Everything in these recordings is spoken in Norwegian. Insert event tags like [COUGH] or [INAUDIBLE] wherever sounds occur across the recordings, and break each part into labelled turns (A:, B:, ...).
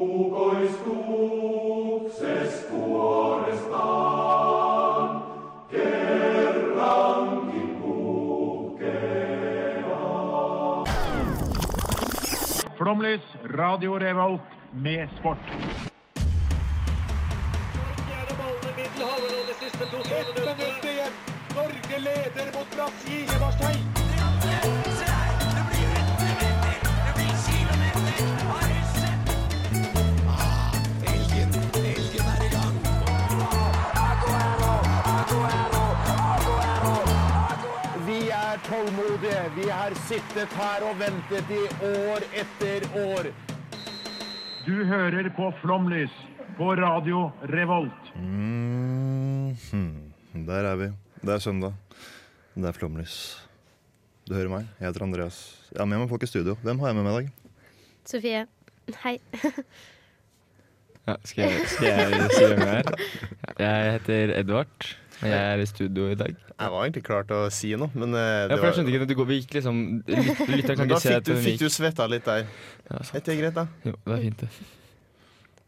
A: i skog se spore stan, Gerlang i
B: Flomlys, Radio Revolt med sport.
C: Ett minutt igjen. Norge leder mot Brasil. Leverstein.
D: Vi er tålmodige. Vi har sittet her og ventet i år etter år.
B: Du hører på Flomlys på Radio Revolt.
E: Mhm. Der er vi. Det er søndag. Det er flomlys. Du hører meg. Jeg heter Andreas. Jeg har med meg folk i studio. Hvem har jeg med meg i dag?
F: Sofie. Hei.
G: Ja, skal, jeg, skal jeg si hvem jeg er? Jeg heter Edvard, og jeg er i studio i dag.
E: Jeg var egentlig klar til å si noe, men
H: eh,
G: Ja, for jeg skjønte ikke at du går vi gikk liksom lyt- Lytteren kan ikke se at den gikk.
E: svetta litt der.
G: Ja, sant.
E: det greit, da?
G: Jo, det er fint, det.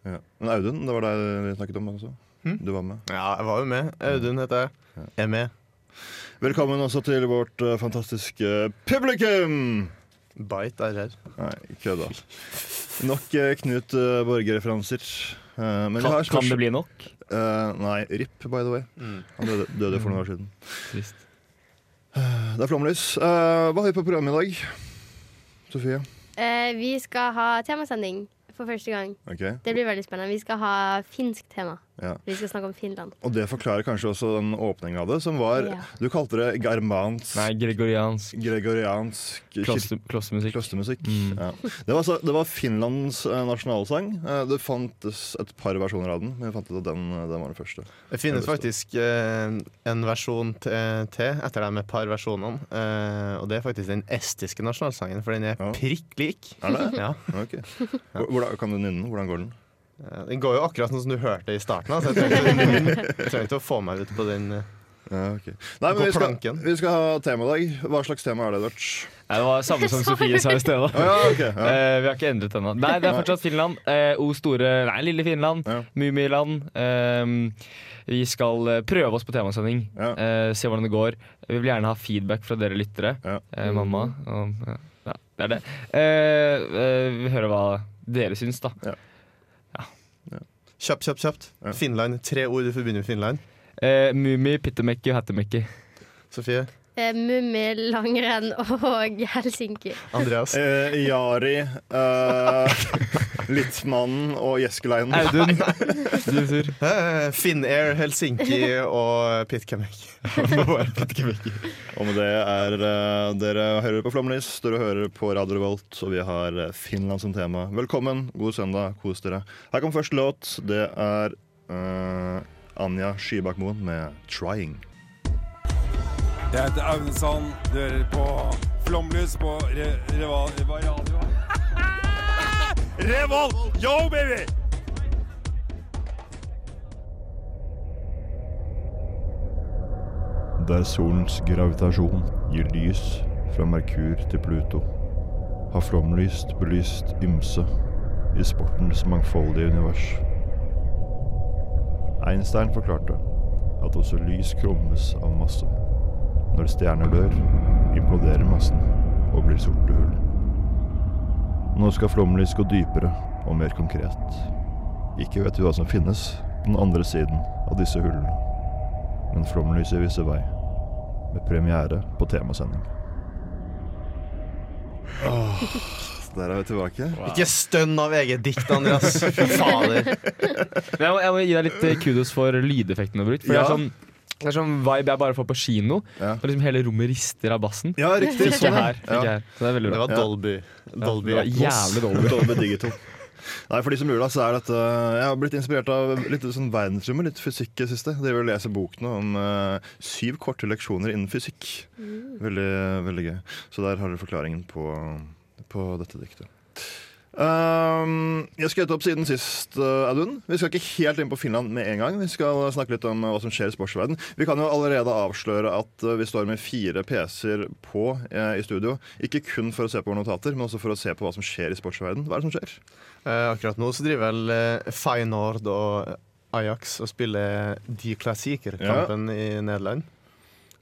E: Ja. Men Audun, det var deg vi snakket om også.
G: Hm?
E: Du var med.
H: Ja, jeg var jo med. Audun heter jeg. Jeg er med.
E: Velkommen også til vårt eh, fantastiske publikum!
H: Bite RR.
E: Nei, kødda. Nok eh, Knut uh, Borge-referanser. Eh, men vi
G: Kan,
E: har
G: kan det bli nok? Mm.
E: Eh, nei, RIP, by the way. Han døde, døde for noen år siden.
G: Trist.
E: Det er flomlys. Eh, hva har vi på programmet i dag? Sofie?
F: Eh, vi skal ha temasending for første gang.
E: Ok,
F: Det blir veldig spennende. Vi skal ha finsk tema.
E: ja.
F: Vi skal snakke om Finland.
E: Og det forklarer kanskje også den åpningen av det, som var
F: Ja.
E: Du kalte det germansk,
G: Nei, gregoriansk
E: gregoriansk kir-
G: kloster, klostermusikk.
E: klostermusikk.
G: Mm.
E: Ja. Det, var, så- det var Finlands eh, nasjonalsang. Eh, det fantes et par versjoner av den, men vi fant ut at den, eh, den var den første.
H: Det finnes faktisk eh, en versjon t- eh, til etter de par versjonene. Eh, og det er faktisk den estiske nasjonalsangen, for den er
E: Ja.
H: prikk lik.
E: Er det?
H: Ja.
E: Ok. Hvor- Hvordan, kan du nynne den? Hvordan går den?
H: Eh, Den går jo akkurat sånn som du hørte i starten. da,
E: [LAUGHS]
H: Så jeg trenger ikke- jeg trenger ikke å få meg ut på den. eh.
E: Ja, ok. Nei,
H: Gå
E: men vi skal,
H: planken.
E: vi skal ha tema i dag. Hva slags tema er det, Edvard?
G: Nei, det var samme som Sofie sa i sted, da.
E: Å ja, ok. Ja.
G: Eh, vi har ikke endret ennå. Nei, det er fortsatt Finland. Eh, o store Nei, lille Finland.
E: Ja.
G: Mummiland. Eh, vi skal eh, prøve oss på temasending.
E: Ja.
G: Eh, se hvordan det går. Vi vil gjerne ha feedback fra dere lyttere.
E: Ja.
G: Eh, mamma. Og, ja, ja, det er det. Eh, eh, vi hører hva dere syns, da.
H: Kjapt, kjapt, kjapt.
E: Ja.
H: Finland. Tre ord du forbinder med Finland.
G: Eh, Mummi, Pittemekki og Hattemekki.
H: Sofie.
F: Eh, Mummi, langrenn og Helsinki.
H: Andreas.
E: Eh, Jari, eh, [LAUGHS] Littmannen og Gjeskeleinen.
G: Audun, din tur.
H: Eh, Finnair, Helsinki og Pitkamek.
E: Og med det er eh, dere hører på Flomlys, dere hører på Radio Revolt, og vi har eh, Finland som tema. Velkommen, god søndag, kos dere. Her kommer første låt. Det er eh, Anja Skybakmoen med 'Trying'.
I: Jeg heter Aune Sand. Du hører på Flomlys på re Reval... Radio. Revolt! Yo, baby!
E: Der solens gravitasjon gir lys fra Merkur til Pluto, har flomlyst belyst ymse i sportens mangfoldige univers. Einstein forklarte at også lys krummes av masse. Når stjerner dør, imploderer massen og blir sorte hull. Nå skal flomlys gå dypere og mer konkret. Ikke vet vi hva som finnes på den andre siden av disse hullene men Flomlyset viser vei. Med premiere på temasending. der er vi tilbake.
H: Ikke stønn av eget dikt, Andreas. Fy fader.
G: Men jeg, må, jeg må gi deg litt eh, kudos for lydeffekten du har brukt. For det,
E: Ja.
G: er sånn, det er sånn vibe jeg bare får på kino.
E: Ja.
G: Og liksom hele rommet rister av bassen.
E: Ja, riktig.
G: Ikke
E: Sånn, ja.
G: her. Ikke
E: ja.
G: her. Så det er veldig
H: Det
G: bra.
H: var Dolby. Dolby
G: det var
H: Atmos.
G: jævlig dårlig.
E: Dolby Digital. Nei, for de som lurer, da, så er dette Jeg har blitt inspirert av litt sånn verdensrommet, litt fysikk i det siste. Det vil lese bok nå om eh, syv korte leksjoner innen fysikk.
G: Mm.
E: Veldig, veldig gøy. Så der har dere forklaringen på, på dette diktet. Ehm, jeg skrev opp siden sist, eh, Audun. Vi skal ikke helt inn på Finland med en gang. Vi skal snakke litt om eh, hva som skjer i sportsverden. Vi kan jo allerede avsløre at eh, vi står med fire PC-er på eh, i studio. Ikke kun for å se på våre notater, men også for å se på hva som skjer i sportsverden. Hva er det som skjer?
H: Eh, akkurat nå så driver vel eh, Feyenoord og Ajax og spiller De Klassiker-kampen i Nederland.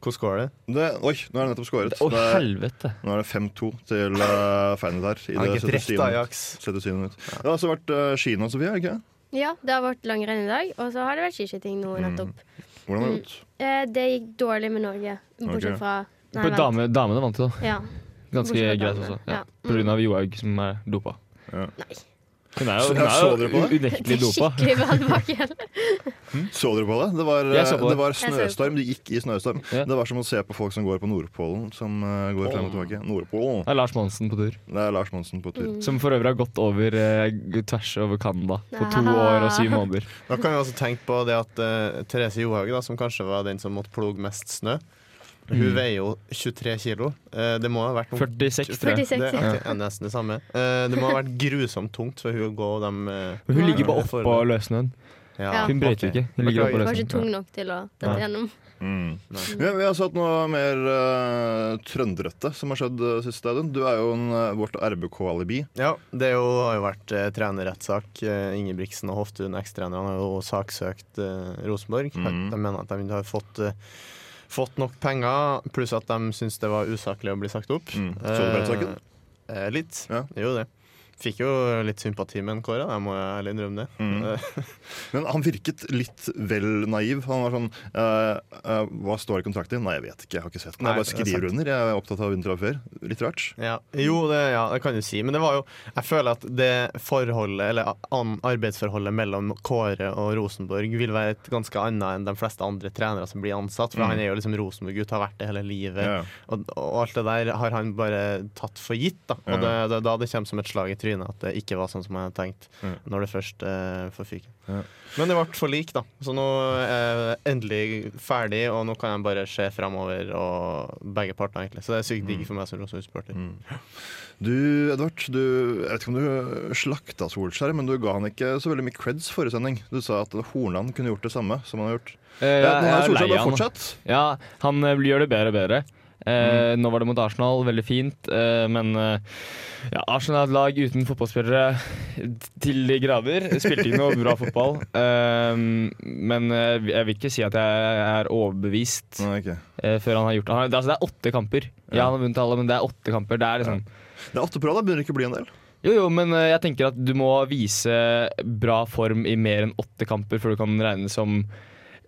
H: Hvordan går det?
E: Det, oi, nå er det nettopp skåret.
G: Å,
E: Det er-
G: helvete!
E: Nå er det 5-2 til uh, Feyenoord her. I
H: Han
E: det
H: har ikke rett,
E: 77. minutt.
H: Ajax.
E: 77 minutt. Det har også vært eh, Kina, Sofie. er det ikke?
F: Ja, det har vært langrenn i dag, og så har det vært skiskyting nå nettopp.
E: Hvordan har det gått?
F: Eh, det gikk dårlig med Norge, bortsett
E: Ok.
F: fra Nei,
G: På
F: vent.
G: dame, damene vant jo, da.
F: Ja.
G: Ganske
F: Bortsett fra
G: greit
F: damene,
G: også.
F: ja.
G: Ja. På grunn av Johaug, som er dopa.
E: Ja.
G: Hun er jo,
E: Så-
G: hun
E: så
G: er
E: dere
G: jo
E: på det?
G: unektelig dopa.
F: Skikkelig brannbakke.
E: Så dere på det? Det var,
G: Jeg så på
E: det.
G: det.
E: var
F: så på
E: snøstorm. De gikk i snøstorm.
G: Ja.
E: Det var som å se på folk som går på Nordpolen. Som eh, går frem og tilbake. Nordpolen.
G: Det er Lars Monsen på tur.
E: Det er Lars Monsen på
F: Mm.
E: tur.
G: Som for øvrig har gått over eh, g- tvers over Canada på to
F: Ah.
G: år og syv måneder.
H: Da kan vi også tenke på det at eh, Therese Johaug, da, som kanskje var den som måtte ploge mest snø,
G: Mm.
H: hun veier jo 23 kilo. Eh, det må ha vært
G: 46, tror jeg.
F: 46,
H: Det
F: ja.
H: er nesten det samme. Eh, det må ha vært grusomt tungt for hun å gå dem eh,
G: Men hun ligger
H: Ja.
G: bare oppå løssnøen.
H: ja.
G: Hun brøyter jo ikke. Hun ligger oppå
H: Beklager.
F: Var ikke tung
G: løssnøen.
F: nok til å dette
G: Ja.
F: gjennom.
E: Mm. Vi, vi har satt noe mer eh, trønderete som har skjedd uh, siste dagen. Du er jo en, eh, vårt RBK-alibi.
H: Ja, det er jo, har jo vært eh, trenerrettssak. Eh, Ingebrigtsen og Hoftun, ekstrenerne, har jo saksøkt eh, Rosenborg.
E: Mhm.
H: De mener at de ikke har fått, eh, fått nok penger, pluss at de syns det var usaklig å bli sagt opp.
E: Mm. Så du på rettssaken?
H: Eh, eh, litt.
E: Ja.
H: Jo, det. Fikk jo litt sympati med en Kåre, jeg må jo ærlig innrømme det.
E: Mm.
H: Eh,
E: Men han virket litt vel naiv. Han var sånn eh, eh, Hva står i kontrakten? Nei, jeg vet ikke. Jeg har ikke sett den.
H: Nei,
E: Jeg bare
H: det er
E: skriver
H: sant.
E: under. Jeg er opptatt av å vinne trofeer. Litt rart.
H: ja. Jo, det, ja, det kan du si, men det var jo Jeg føler at det forholdet, eller an, arbeidsforholdet mellom Kåre og Rosenborg vil være et ganske annet enn de fleste andre trenere som blir ansatt, for
E: Mm.
H: han er jo liksom Rosenborg-gutt, har vært det hele livet.
E: Ja.
H: Og, og alt det der har han bare tatt for gitt. Da. Og
E: Ja.
H: det, det, da det kommer som et slag i trynet at det ikke var sånn som han hadde tenkt.
E: Ja.
H: Når det først eh, får fyken.
E: Ja.
H: Men det ble forlik, da. Så nå er det endelig ferdig, og nå kan jeg bare se framover og begge parter, egentlig. Så det er sykt digg
E: Mm.
H: for meg som Rosenborg-supporter.
E: Du, Edvard, du, jeg vet ikke om du slakta Solskjær, men du ga han ikke så veldig mye creds forrige sending. Du sa at Hornland kunne gjort det samme som han har gjort.
G: Eh, jeg
E: Ja, Nå har
G: er lei
E: Solskjær bare
G: av han.
E: fortsatt.
G: Ja, han eh, gjør det bedre og bedre. Eh, Nå var det mot Arsenal, veldig fint. Eh, men eh, ja, Arsenal er et lag uten fotballspillere til de grader. Spilte ikke noe bra fotball. Eh, men eh, jeg vil ikke si at jeg er overbevist
E: Nei, ok.
G: eh, før han har gjort det. Han, altså, det er åtte kamper. Ja, han har vunnet alle, men det er åtte kamper. Det er liksom
E: Det er åtte på rad, da begynner det ikke å bli en del.
G: Jo, jo, men eh, jeg tenker at du må vise bra form i mer enn åtte kamper før du kan regnes som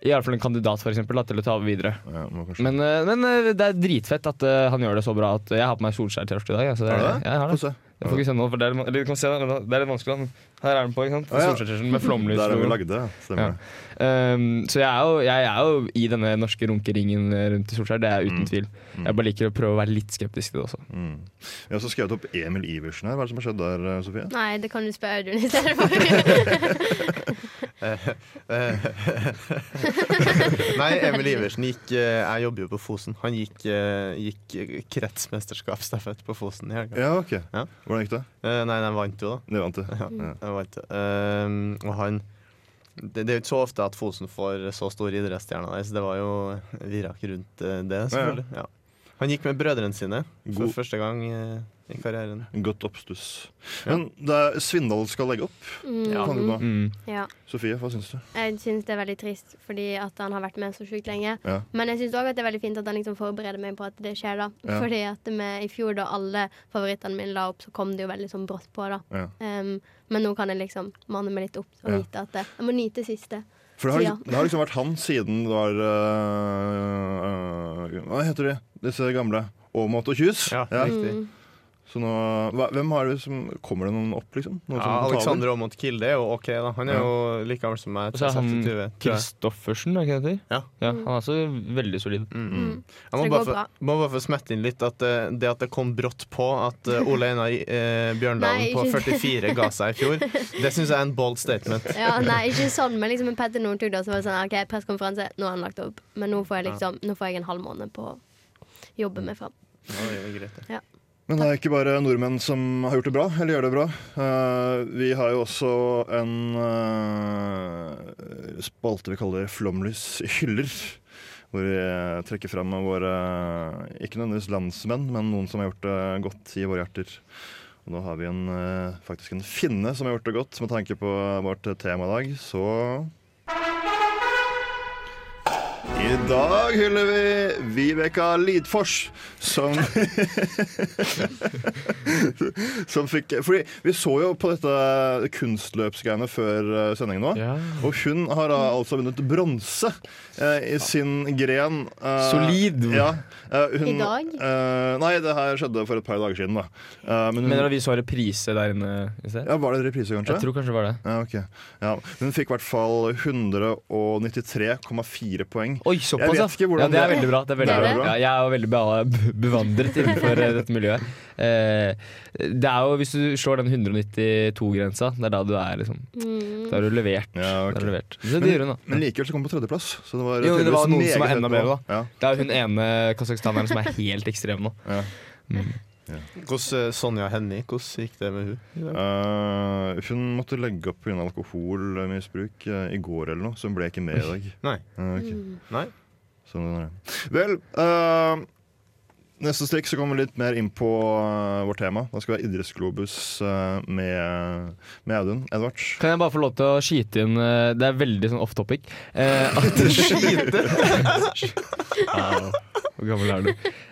G: i alle fall en kandidat for eksempel, da, til å ta videre.
E: Ja, må kanskje-
G: Men, eh, men eh, det er dritfett at eh, han gjør det så bra at jeg har på meg Solskjær-T-skjorte i dag. ja, Så det,
E: Har du
G: eh, Ja, jeg har
E: Få
G: det.
E: se.
G: Jeg får ikke se nå, for det er, eller, du kan se, da, det er litt vanskelig. da. Her er den på, ikke sant?
E: Ja, ja. [LAUGHS]
G: Solskjær-T-skjorten med
E: Der har vi
G: flomlys.
E: lagd det, ja. stemmer det.
G: Um, så jeg er, jo, jeg er jo i denne norske runkeringen eh, rundt Solskjær, det er jeg uten tvil. Jeg bare liker å prøve å være litt skeptisk til det også.
E: Mm. Vi har også skrevet opp Emil Iversen her. Hva er det som har skjedd der, eh, Sofie?
F: Nei, det kan du spørre Audun i stedet for.
H: Nei, Emil Iversen gikk eh, Jeg jobber jo på Fosen. Han gikk, eh, gikk kretsmesterskapsstafett på Fosen i helga.
E: Ja, ok.
H: Ja.
E: Hvordan gikk det?
H: Eh, nei, de vant jo, da.
E: Det vant det.
H: Ja,
E: Ja.
H: jeg vet det. Ehm, og han det, det er jo ikke så ofte at Fosen får så store idrettsstjerner der, så det var jo virak rundt eh, det, selvfølgelig. Ja. Han gikk med brødrene sine
E: God-
H: for første gang eh, i karrieren.
E: Godt oppstuss. Men det er Svindal skal legge opp. fant du på.
G: Mm.
F: Ja.
E: Sofie, hva syns du?
F: Jeg syns det er veldig trist fordi at han har vært med så sjukt lenge.
E: Ja.
F: Men jeg syns òg det er veldig fint at han liksom forbereder meg på at det skjer, da.
E: Ja.
F: Fordi at med, i fjor, da alle favorittene mine la opp, så kom det jo veldig sånn brått på, da.
E: Ja.
F: Em, men nå kan jeg liksom manne meg litt opp og
E: Ja.
F: vite at det, jeg må nyte siste.
E: For det har,
F: Ja.
E: det har liksom vært han siden det var øh, øh, Hva heter de? Disse gamle? Åmot og Kjus?
H: Ja,
E: Ja.
H: riktig.
E: Så nå, hva, hvem har det som Kommer det noen opp, liksom? Noen
H: Ja,
E: som tar over?
H: Alexander Aamodt Kilde er jo OK, da. Han er
E: Ja.
H: jo like gammel som meg.
G: Og så er han
H: 26, tror jeg.
G: Kristoffersen, Sånn er ikke det det?
H: Ja.
G: heter? ja. Han er også veldig solid.
H: Mm. Jeg må
F: Det
H: bare,
F: går
H: få,
F: bra.
H: må bare få smette inn litt at eh, det at det kom brått på at eh, Ole Einar eh,
F: Nei,
H: Bjørndalen på
F: ikke
H: 44 ga seg i fjor, det syns jeg er en bold statement.
F: Ja, nei, ikke sånn, men liksom en Petter Northug, da, som var det sånn OK, pressekonferanse, nå har han lagt opp. Men nå får jeg liksom Nå får jeg en halv måned på å jobbe meg fram.
H: Ja, det er greit, det.
E: Men det er ikke bare nordmenn som har gjort det bra, eller gjør det bra. Eh, vi har jo også en eh, spalte vi kaller Flomlys hyller. Hvor vi eh, trekker fram våre, eh, ikke nødvendigvis landsmenn, men noen som har gjort det godt i våre hjerter. Og nå har vi en, eh, faktisk en finne som har gjort det godt, med tanke på vårt eh, tema i dag. Så I dag hyller vi Vibeka Lidfors, som [LAUGHS] som fikk Fordi vi så jo på dette kunstløpsgreiene før eh, sendingen nå.
G: Ja.
E: Og hun har da altså vunnet bronse eh, i sin gren. eh,
G: Solid.
E: Ja, eh, hun,
F: I dag?
E: eh, nei, det her skjedde for et par dager siden, da. Eh, men hun,
G: Mener du at vi så reprise der inne i sted?
E: ja, var det reprise, kanskje?
G: Jeg tror kanskje det var det.
E: Ja, ok. ja, hun fikk i hvert fall 193,4 poeng.
G: Oi, såpass,
E: Jeg
G: ja.
E: vet ikke hvordan
G: ja! Det er
E: det-
G: veldig bra. Det er veldig
F: Det er
G: bra.
E: det.
G: Ja, jeg er jo veldig beva- bevandret
F: [LAUGHS]
G: innenfor eh, dette miljøet. Eh, det er jo, Hvis du slår den 192-grensa, det er da du er liksom
F: Mm.
G: Da er du levert.
E: Ja, ok.
G: Da er du levert. Så det gjør hun, da.
E: Men likevel så kom hun på tredjeplass. Så det var
G: Jo, det var
E: tydeligvis
G: noen som var
E: meget
G: enda
E: bra.
G: bedre,
E: Ja.
G: Det er jo hun ene kasakhstaneren som er helt ekstrem nå.
H: Hvordan eh, Sonja Hennie, hvordan gikk det med hun?
E: Eh, hun måtte legge opp pga. alkoholmisbruk eh, i går eller noe, så hun ble ikke med i dag.
H: Nei.
E: Ja, ok.
H: Nei.
E: Sånn er det. Vel, eh, neste stikk så kommer vi litt mer inn på eh, vårt tema. Da skal vi ha idrettsglobus eh, med, med Audun Edvards.
G: Kan jeg bare få lov til å skyte inn eh, Det er veldig sånn off topic. Eh, at [LAUGHS] Skyte? Hvor gammel er du?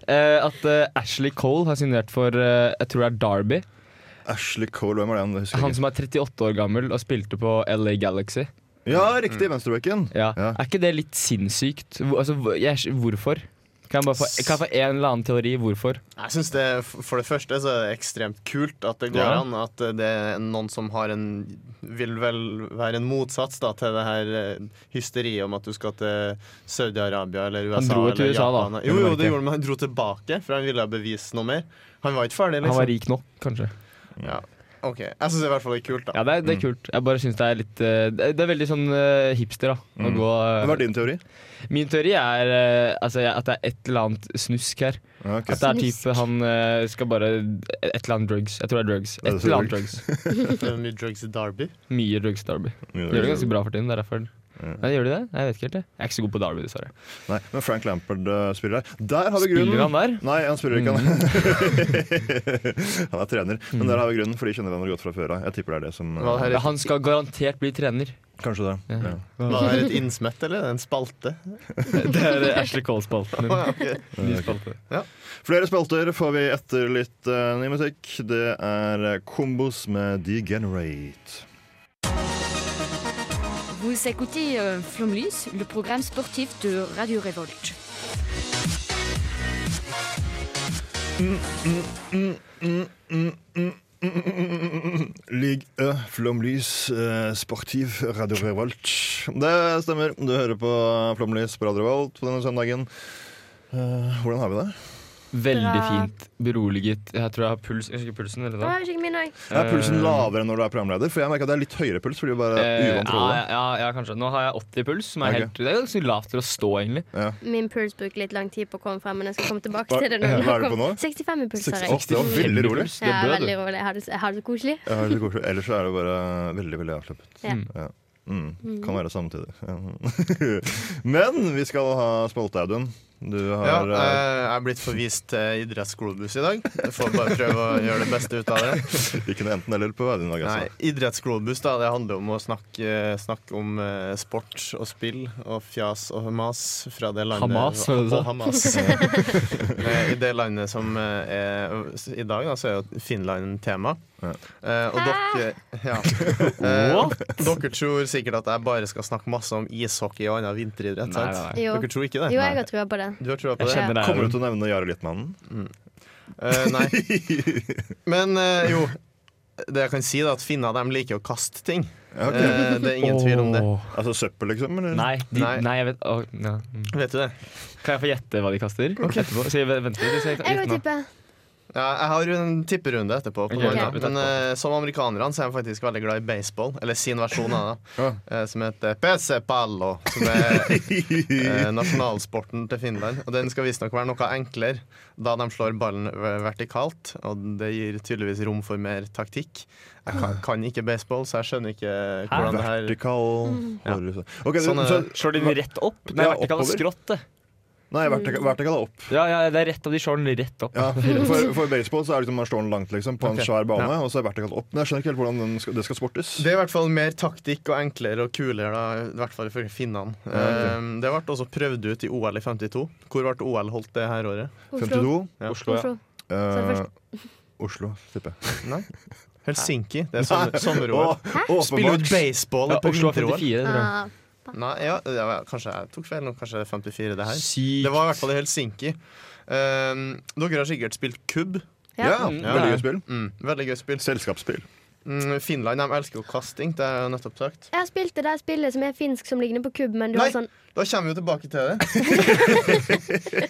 G: Eh, at eh, Ashley Cole har signert for eh, jeg tror det er Derby.
E: Ashley Cole, hvem er det? han? Det husker
G: Han
E: jeg ikke.
G: som er 38 år gammel og spilte på LA Galaxy.
E: Ja, riktig! Venstrebekken.
G: Ja.
E: Ja.
G: Er ikke det litt sinnssykt? Hvor- Altså, hvor- jeg, hvorfor? Kan jeg bare få, kan jeg få en eller annen teori hvorfor?
H: Jeg synes det, For det første så er det ekstremt kult at det går
G: Ja.
H: an at eh, det er noen som har en Vil vel være en motsats da, til det her eh, hysteriet om at du skal til Saudi-Arabia eller USA.
G: Han dro jo til
H: eller
G: USA, da.
H: Japan. Jo, jo, det gjorde han, men han dro tilbake, for han ville bevise noe mer. Han var ikke ferdig,
G: Han var rik
H: liksom.
G: nok, kanskje. Mm.
H: Ja. Ok, Jeg syns i hvert fall det er kult, da.
G: Ja, det er, det er kult. Jeg bare synes det er litt eh, Det det er veldig sånn eh, hipster, da. Å gå, eh,
E: Hva er din teori?
G: Min teori er eh, altså, jeg- at det er et eller annet snusk her.
E: Ja, ok.
G: At det er
F: Snusk.
G: type han eh, skal bare Et eller annet drugs. Jeg tror det er drugs.
E: Er
G: Et
E: det så
G: eller annet Altså drugs.
H: Det er Mye drugs i Derby.
G: Mye drugs Derby.
E: Mye
G: Gjør det
E: drugs.
G: ganske bra for tiden. Det er derfor. Nei, gjør de det? Jeg vet ikke helt. Jeg Jeg er ikke så god på Derby, dessverre.
E: Nei, men Frank Lampard eh, spiller her. Der har vi grunnen!
G: Spiller han der?
E: Nei, han spiller ikke, han.
G: Mm.
E: [LAUGHS] han er trener. Men der har vi grunnen, for de kjenner hverandre godt fra før av. Jeg tipper det er det som eh,
H: Hva er det
G: Ja, Han skal garantert bli trener.
E: Kanskje det.
G: Ja.
E: Ja.
H: Var det her et innsmett, eller? En spalte?
G: [LAUGHS] Det er eh, Ashley Cole-spalten min. Ny spalte.
E: Eh, Flere spalter får vi etter litt eh, ny musikk. Det er eh, Kombos med Degenerate.
J: Vous écoutez euh, Flomlys, le programme sportif de Radio Révolte.
E: Ligue Ø, Flomlys, eh, Sportiv, Radio Revolt. Det stemmer. Du hører på Flomlys på Radio Revolt på denne søndagen. Eh, hvordan har vi det?
G: Veldig
F: Bra.
G: fint. Beroliget. Jeg tror jeg har puls. Jeg husker ikke pulsen. Eller
F: Nå
G: noe.
F: er det ikke min òg.
E: Er pulsen
G: Eh,
E: lavere enn når du er programleder? For jeg merker at det er litt høyere puls. fordi du bare er
G: Eh,
E: uvant
G: ja,
E: rolle.
G: ja, ja, kanskje. Nå har jeg 80 puls, som er
E: Ok.
G: helt Det er ganske lavt til å stå, egentlig.
F: Min puls bruker litt lang tid på å komme frem, men jeg skal komme tilbake
E: Hva-
F: til det.
E: hva
F: Når
E: er det på nå?
F: 65 i puls har
E: Å,
F: jeg.
E: det var veldig rolig.
G: Puls,
F: Ja,
G: det bød.
F: veldig rolig. Jeg har det, jeg har det så koselig.
E: Ja, det er koselig. Ellers så er det bare veldig veldig avslappet.
F: Ja.
E: Ja. Mm. Kan være samtidig. Ja. [LAUGHS] Men vi skal ha spalte, Audun. Du
H: Ja,
E: har
H: eh,
E: eh,
H: jeg er blitt forvist til idrettsglobus i dag. Jeg får bare prøve å gjøre det beste ut av det.
E: ikke noe enten-eller på Audun i dag,
H: Nei,
E: altså.
H: idrettsglobus da, det handler om å snakke, snakke om eh, sport og spill og fjas og Hamas fra det landet
G: Hamas, var det du
H: og,
G: sa?
H: og Hamas.
G: [LAUGHS]
H: [LAUGHS] Eh, I det landet som eh, er I dag da, så er jo Finland tema.
E: Ja.
H: Eh, og dere
G: [LAUGHS]
H: ja. Eh, Dere tror sikkert at jeg bare skal snakke masse om ishockey og annen vinteridrett,
G: Nei,
H: sant?
G: nei, nei.
F: Jo,
H: Dere tror ikke det?
F: jo jeg har trua på det.
H: Du har trua på
G: Jeg
H: det?
F: Ja.
G: kjenner deg.
E: Kommer du til å nevne Jarle Littmannen? [LAUGHS]
H: Eh,
G: [LAUGHS]
H: nei. Men eh, jo, det jeg kan si da, at finner de liker å kaste ting.
E: Ja, ok.
H: Eh, det er ingen tvil om det.
G: Åh.
E: Altså søppel, liksom? Eller?
G: Nei, de, nei.
H: Nei.
G: jeg vet åh, ja. mm.
H: Vet du det?
G: Kan jeg få gjette hva de kaster? Etterpå? Så jeg venter litt. så jeg-
F: Jeg òg
G: gjett nå.
F: tipper.
H: Ja, jeg har jo en tipperunde etterpå. på
G: Ok,
H: noe
G: vi
H: annet.
G: tar det
H: Men eh, som amerikanerne så er jeg faktisk veldig glad i baseball, eller sin versjon av det, eh, som heter PC Pallo. Som er eh, nasjonalsporten til Finland. Og den skal visstnok være noe enklere, da de slår ballen v- vertikalt. Og det gir tydeligvis rom for mer taktikk. Jeg kan, kan ikke baseball, så jeg skjønner ikke hvordan det her
E: Vertikal horisontal. Ok, så-
H: Mm. Sånn,
E: så-
G: Slår de den rett opp? Nei,
E: Ja,
G: vertikal og
E: oppover.
G: skrått, det.
E: Nei, vertikal, vertikal er opp.
G: Ja, ja, det er rett av de slår den rett opp.
H: [LAUGHS]
E: Ja, for, for baseball så er det liksom man slår den langt liksom, på en
H: Ok,
E: svær bane,
H: ja.
E: og så er vertikal opp. Men jeg skjønner ikke helt hvordan den skal, det skal sportes.
H: Det er i hvert fall mer taktikk og enklere og kulere, da, i hvert fall ifølge finnene. Eh, Det ble også prøvd ut i OL i 52. Hvor ble OL holdt det her året?
F: Oslo.
E: 52.
H: Ja.
G: Oslo, ja.
F: Oslo.
E: Eh, Oslo, tipper jeg.
H: Nei. Helsinki. Det er
E: [LAUGHS]
H: sommer, sommer-OL.
E: Å,
H: Spiller
E: åpenbart.
H: ut baseball
G: Ja,
H: på
G: Oslo er
H: vinter-OL.
G: 54, tror jeg.
F: Ah,
H: Nei, ja, ja, ja, kanskje jeg tok feil nå. Kanskje det er 54, det her.
G: Sykt.
H: Det var i hvert fall i Helsinki. Eh, dere har sikkert spilt kubb.
E: Ja,
G: Mm,
E: veldig
G: det
E: gøy spill.
H: Mm, veldig gøy spill.
F: [LAUGHS]
E: Selskapsspill.
H: Mm, Finland de elsker jo kasting. Det er jo nettopp sagt.
F: Jeg har spilt det der spillet som er finsk, som ligner på kubb, men du
H: Nei.
F: har sånn
H: Da kommer vi jo tilbake til det. [LAUGHS]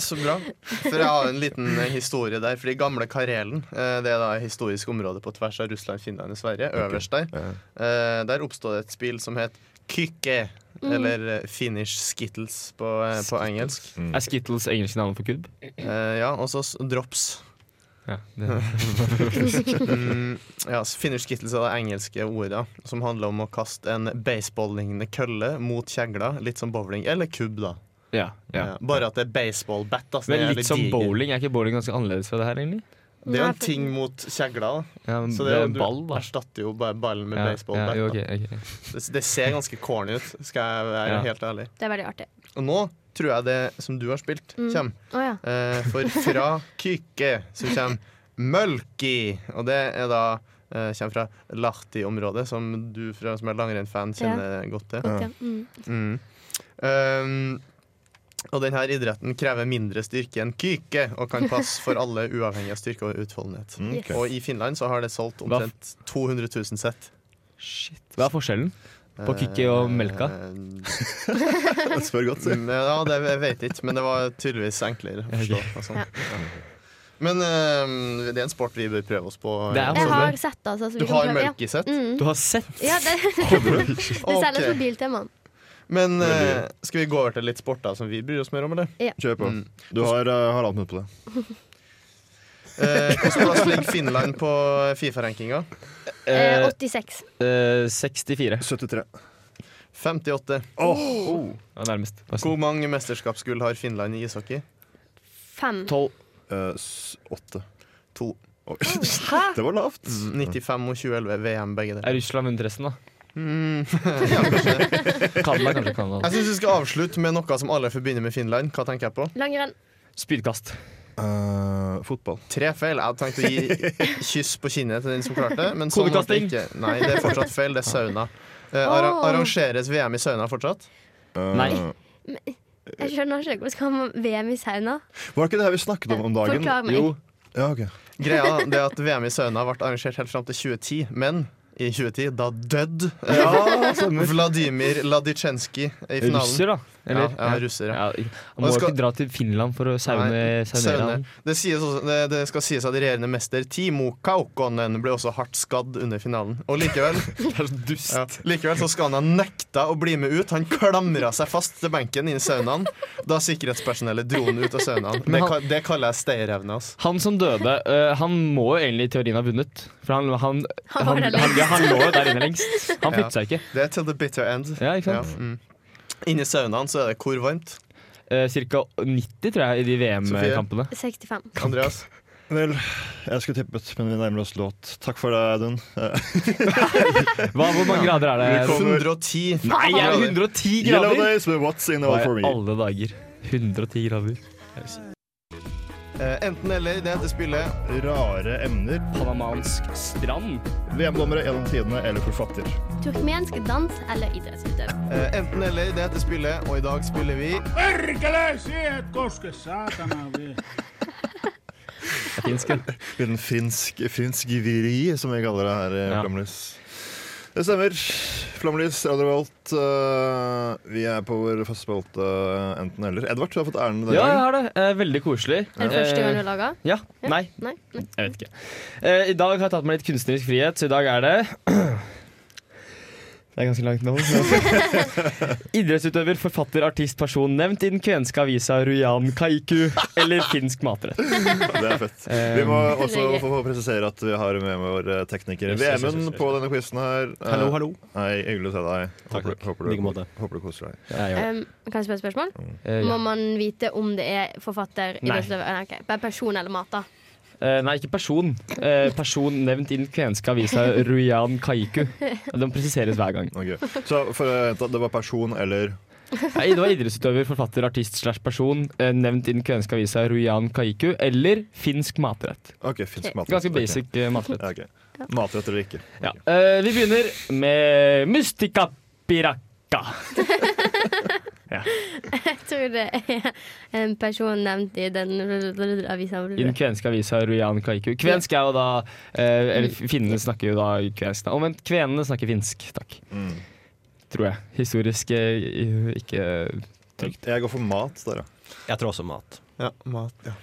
H: Så bra. For jeg har en liten eh, historie der. Fordi gamle Karelen, eh, det er da et historisk område på tvers av Russland, Finland og Sverige, øverst der,
E: Ja.
H: eh, der oppstod det et spill som het Kykke. Eller eh, Finnish Skittles på, eh, på engelsk.
G: Er Skittles engelske navn for kubb?
H: Eh, ja, og så s- Drops.
G: Ja, det.
E: [LAUGHS]
H: Mm, ja, så Finnish Skittles er det engelske ordet som handler om å kaste en baseball-lignende kølle mot kjegler. Litt som bowling. Eller kubb, da.
G: ja, ja.
H: Ja. Bare at det er baseball-bat. da, så
G: Men
H: det er
G: litt
H: litt
G: som
H: diger.
G: bowling. Er ikke bowling ganske annerledes fra det her, egentlig?
H: Det er jo
F: Nei,
H: en
F: for-
H: ting mot kjegler. da.
G: Ja, men
H: Så
G: Mm, det er
H: du
G: ball, da.
H: erstatter jo bare ballen med
G: Ja, ja,
H: baseball-bat.
G: jo,
H: da.
G: ok, ok.
H: det, det ser ganske corny ut, skal jeg være
G: Ja.
H: helt ærlig.
F: Det er veldig artig.
H: Og nå tror jeg det som du har spilt,
F: Mm.
H: kommer.
F: Å ja.
H: Eh, for fra
F: [LAUGHS]
H: Kykke så kommer Mølki, og det er da eh, kommer fra Lahti-området, som du fra, som er langrennsfan kjenner godt til.
F: Godt, ja. Mm.
H: Mm. Ehm, og denne idretten krever mindre styrke enn kyke, og kan passe for
G: [LAUGHS]
H: alle uavhengig av styrke og utholdenhet.
E: Mm,
F: Yes.
E: ok.
H: Og i Finland så har det solgt
G: Hva f-
H: omtrent 200 000 sett. Ehm,
G: Hva er forskjellen? På kykke og
H: [LAUGHS]
G: melka?
H: Eh,
E: Jeg Spør godt, si.
H: mm, ja, det jeg vet jeg ikke, men det var tydeligvis enklere å forstå. og sånn.
F: Ja.
H: Men ehm, det er en sport vi bør prøve oss på.
G: Det er
F: Jeg
G: også-
F: har sett det, altså. Så vi
H: Du
F: kan
H: har
F: prøve- ja.
H: melkesett?
F: Mm.
G: Du har sett
F: Ja, det, [LAUGHS] det selges på
H: Ok.
F: Biltemaen.
H: Men eh, skal vi gå over til litt sporter som vi bryr oss mer om, eller?
E: Kjør på.
H: Mm.
E: Du har uh, halvannet minutt på det.
H: Eh, Hvilken plass ligger Finland på Fifa-rankinga?
F: Eh,
G: eh,
F: 86.
G: eh, 64.
E: 73.
H: 58.
G: Det var nærmest.
H: Hvor mange mesterskapsgull har Finland i ishockey?
F: 5.
G: 12.
E: Eh, s- åtte.
H: To.
E: Oi. [LAUGHS] Det var lavt.
H: 95 og 2011 VM, begge
G: Er
H: deler.
G: Russland vunnet
H: [LAUGHS]
G: resten, da?
H: Mm. ja, kanskje det.
G: Canada, kanskje. Canada.
H: jeg syns vi skal avslutte med noe som alle forbinder med Finland. Hva tenker jeg på?
F: Langrenn.
G: Spydkast.
E: Eh, fotball.
H: Tre feil. Jeg hadde tenkt å gi kyss på kinnet til den som klarte det. Men sånn ble det
G: Kodekasting.
H: ikke. Nei, det er fortsatt feil. Det er sauna. Eh, arra
F: Åh.
H: arrangeres VM i sauna fortsatt?
E: Eh,
G: Nei.
F: Jeg skjønner ikke hvordan skal man VM i sauna.
E: Var det ikke det her vi snakket om om dagen?
F: Forklar meg.
G: Jo,
E: Ja, ok.
H: Greia det er at VM i sauna ble arrangert helt fram til 2010, men i 2010, da døde
E: Ja, stemmer.
H: Vladimir Ladicenskij i finalen.
G: russer, da. Eller?
H: Ja, ja, russer, ja.
G: Ja, Man må
H: Og skal-
G: ikke dra til Finland for å saune,
H: Nei,
G: saunere han.
H: saune. Det, sies også, det, det skal sies at regjerende mester Timo Kaukonen ble også hardt skadd under finalen. Og likevel,
G: [LAUGHS] Det er så dust.
H: ja, likevel så skal han ha nekta å bli med ut. Han klamra seg fast til benken inn i saunaen da sikkerhetspersonellet dro han ut av saunaen.
G: [LAUGHS]
H: Det,
G: Men han-
H: ka- det kaller jeg altså. stayerevne. ass.
G: Han som døde, eh, han må jo egentlig i teorien ha vunnet. For han, han,
F: [LAUGHS] Han
G: han,
F: var
G: han,
F: der
G: han,
F: lengst.
G: lå jo der inne lengst.
F: [LAUGHS]
G: Han
H: Ja.
G: flyttet seg ikke.
H: Det er til the bitter end.
G: Ja, ikke sant?
H: Ja, mm. Inni saunaen så er det hvor varmt?
G: Eh, cirka 90, tror jeg, i de VM-kampene.
F: 65.
H: Andreas?
G: [LAUGHS]
E: Vel, jeg skulle tippet, men vi nærmer oss låt. Takk for det, Audun. Eh,
G: Hva, hvor mange grader er det?
H: 110.
G: Nei, er det 110
E: Yellow
G: grader?
E: days with what's in all
G: Nei,
E: for me.
G: alle dager. 110 grader.
H: Eh, Enten eller, det heter spillet.
E: Rare emner.
G: Panamansk strand.
E: VM-dommere gjennom tidene eller forfatter.
F: Turkmensk dans eller idrettsutøvelse.
H: Eh, Enten eller, det heter spillet, og i dag spiller vi
B: Perkele, se et koske satana vi.
G: Finsk, ja.
E: Liten finsk, finsk viri, som vi kaller det her.
G: Ja.
E: Ja. Det stemmer. Flomlys, Radio Revolt. eh, vi er på vår faste spalte enten-eller. Edvard, du har fått æren denne
G: Ja, jeg
E: gangen.
G: har det. Eh, veldig koselig.
F: Er det første gang du
G: Eh,
F: lager?
G: Ja.
F: Ja.
G: Nei,
F: Nei? Nei.
G: jeg vet ikke. Eh, I dag har jeg tatt meg litt kunstnerisk frihet, så i dag er det [CLEARS THROAT] Det er ganske langt nå. [LAUGHS] Idrettsutøver, forfatter, artist, person nevnt i den kvenske avisa Rujan Kaiku eller finsk [LAUGHS] matrett.
E: Det er fett.
G: Eh,
E: Vi må også få få presisere at vi har med vår eh, tekniker
G: Yes, yes, yes, yes,
E: Vemund
G: yes.
E: på denne quizen her. Eh,
K: Hallo, hallo.
E: Hei, hyggelig å se deg.
K: Takk,
E: Håper,
K: takk.
E: håper,
K: Like
E: du,
K: måte.
E: håper du koser deg.
G: Ja, jeg gjør det.
F: Um, kan jeg spørre et spørsmål?
G: Eh,
F: Må
G: ja.
F: man vite om det er forfatter,
G: Nei.
F: idrettsutøver Nei, ok. Bare person eller mat, da? [LAUGHS]
G: Eh, nei, ikke person. Eh, person nevnt i den kvenske avisa Rujan Kaiku. Og Den presiseres hver gang.
E: Ok. Så for å gjenta, det var person eller
G: Nei, det var idrettsutøver, forfatter, artist slash person eh, nevnt i den kvenske avisa Rujan Kaiku eller finsk matrett.
E: OK, finsk matrett.
G: Ganske
E: Ok.
G: basic eh, matrett.
E: Ja, ok. Matrett eller ikke.
G: Ja. Eh, vi begynner med Mystica Piracca.
F: Jeg tror det er en person nevnt i den avisa.
G: I den kvenske avisa Rujan Kaiku. Kvensk er jo da eh, Eller finnene snakker jo da kvensk. da. Omvendt, kvenene snakker finsk, takk.
E: Mm.
G: Tror jeg. Historisk eh, ikke
E: Jeg går for mat der, ja.
K: Jeg tror også mat.
H: Ja, mat, ja.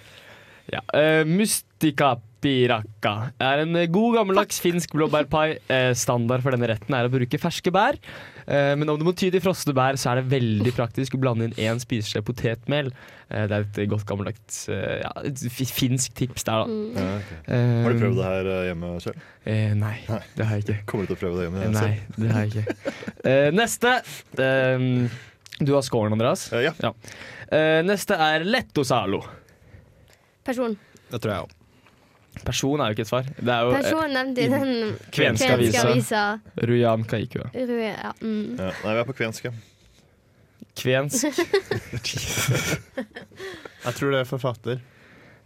G: Ja. eh, Mustika piraka er en eh, god gammeldags finsk blåbærpai. Eh, standard for denne retten er å bruke ferske bær. Eh, men om du må ty til frosne bær, så er det veldig praktisk å blande inn én spiseskje potetmel. Eh, det er et eh, godt gammeldags eh, ja, et fi- finsk tips der, da.
E: Ja, ok. Har du prøvd det her eh, hjemme selv?
G: Eh, nei, det har jeg ikke.
E: Kommer du til å prøve det hjemme
G: Nei,
E: selv?
G: det har jeg ikke. Eh, neste. Eh, du har scoren, Andreas.
E: Eh, ja.
G: Eh, neste er lettosalo.
F: Person.
K: Det tror jeg òg.
G: Person er jo ikke et svar. Det er jo eh,
F: Person nevnt i den
G: kvenske
F: kvenske
G: avisa.
F: avisa.
G: Rujan Kaiku. ja.
F: Ru- Ja. Mm.
E: Ja. Nei, vi er på kvensk. ja.
G: Kvensk.
H: Jeg tror det er forfatter.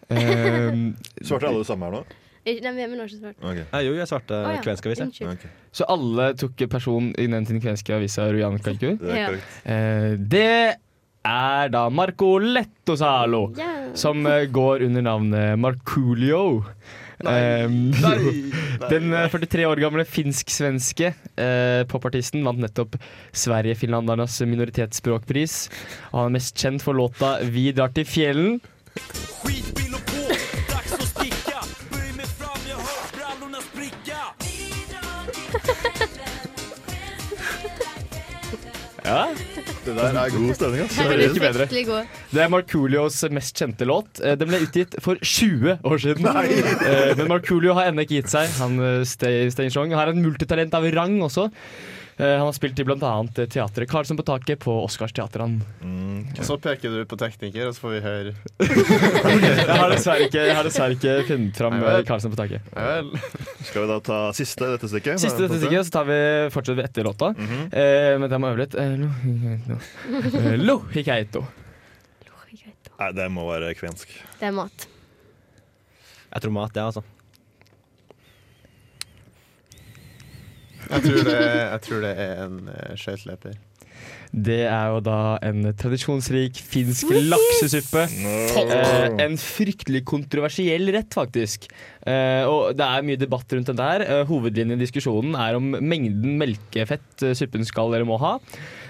G: Ehm,
E: Svarte alle det samme her nå?
F: Ikke- Nei, men har ikke svart.
E: Ok.
K: jo, jeg svarte
F: Å, ja.
K: kvensk avis. jeg.
F: Unnskyld.
E: Ok.
G: så alle tok person i den til den kvenske avisa Rujan Kalku.
E: Det er
F: Ja.
E: korrekt.
G: Eh, det er da Marco Lettosalo,
F: Ja.
G: som eh, går under navnet Marculio. Ehm, [LAUGHS] den eh, 43 år gamle finsk-svenske eh, popartisten vant nettopp Sverige-finlandernes minoritetsspråkpris. Og han er mest kjent for låta 'Vi drar til fjellen'.
C: Skitbil och på, dags att sticka. Böj mig fram, jag hör brallorna spricka.
G: Ja,
E: Det der er god stemning, ass.
G: det
F: Her
G: blir
F: er
G: ikke bedre.
F: fryktelig god.
G: Det er Marculios mest kjente låt. Eh, Den ble utgitt for 20 år siden. Eh, Men Marculio har ennå ikke gitt seg. Han eh, stay, stay strong. har en multitalent av rang også. Eh, Han har spilt i bl.a. teatret Karlsson på taket på Oscarsteatrene.
E: Mm,
H: Og så peker du på tekniker, og så får vi høre.
G: Jeg har dessverre ikke, jeg har dessverre ikke funnet fram
H: Nei vel.
G: eh, Karlsson på taket.
H: Ja vel.
E: Skal vi da ta siste i dette stykket?
G: Siste dette stikket, så tar vi, fortsetter vi etter låta.
E: Mhm.
G: Eh, Men jeg må øve litt. Eh, lo- eh, Lo hikaito.
E: Nei, det må være kvensk.
F: Det er mat.
K: Jeg tror mat, jeg, altså.
H: Jeg tror det, jeg tror det er en eh, skøyteløper.
G: Det er jo da en tradisjonsrik finsk laksesuppe. Eh, en fryktelig kontroversiell rett, faktisk. Eh, og det er mye debatt rundt den der. Eh, hovedlinjen i diskusjonen er om mengden melkefett eh, suppen skal eller må ha.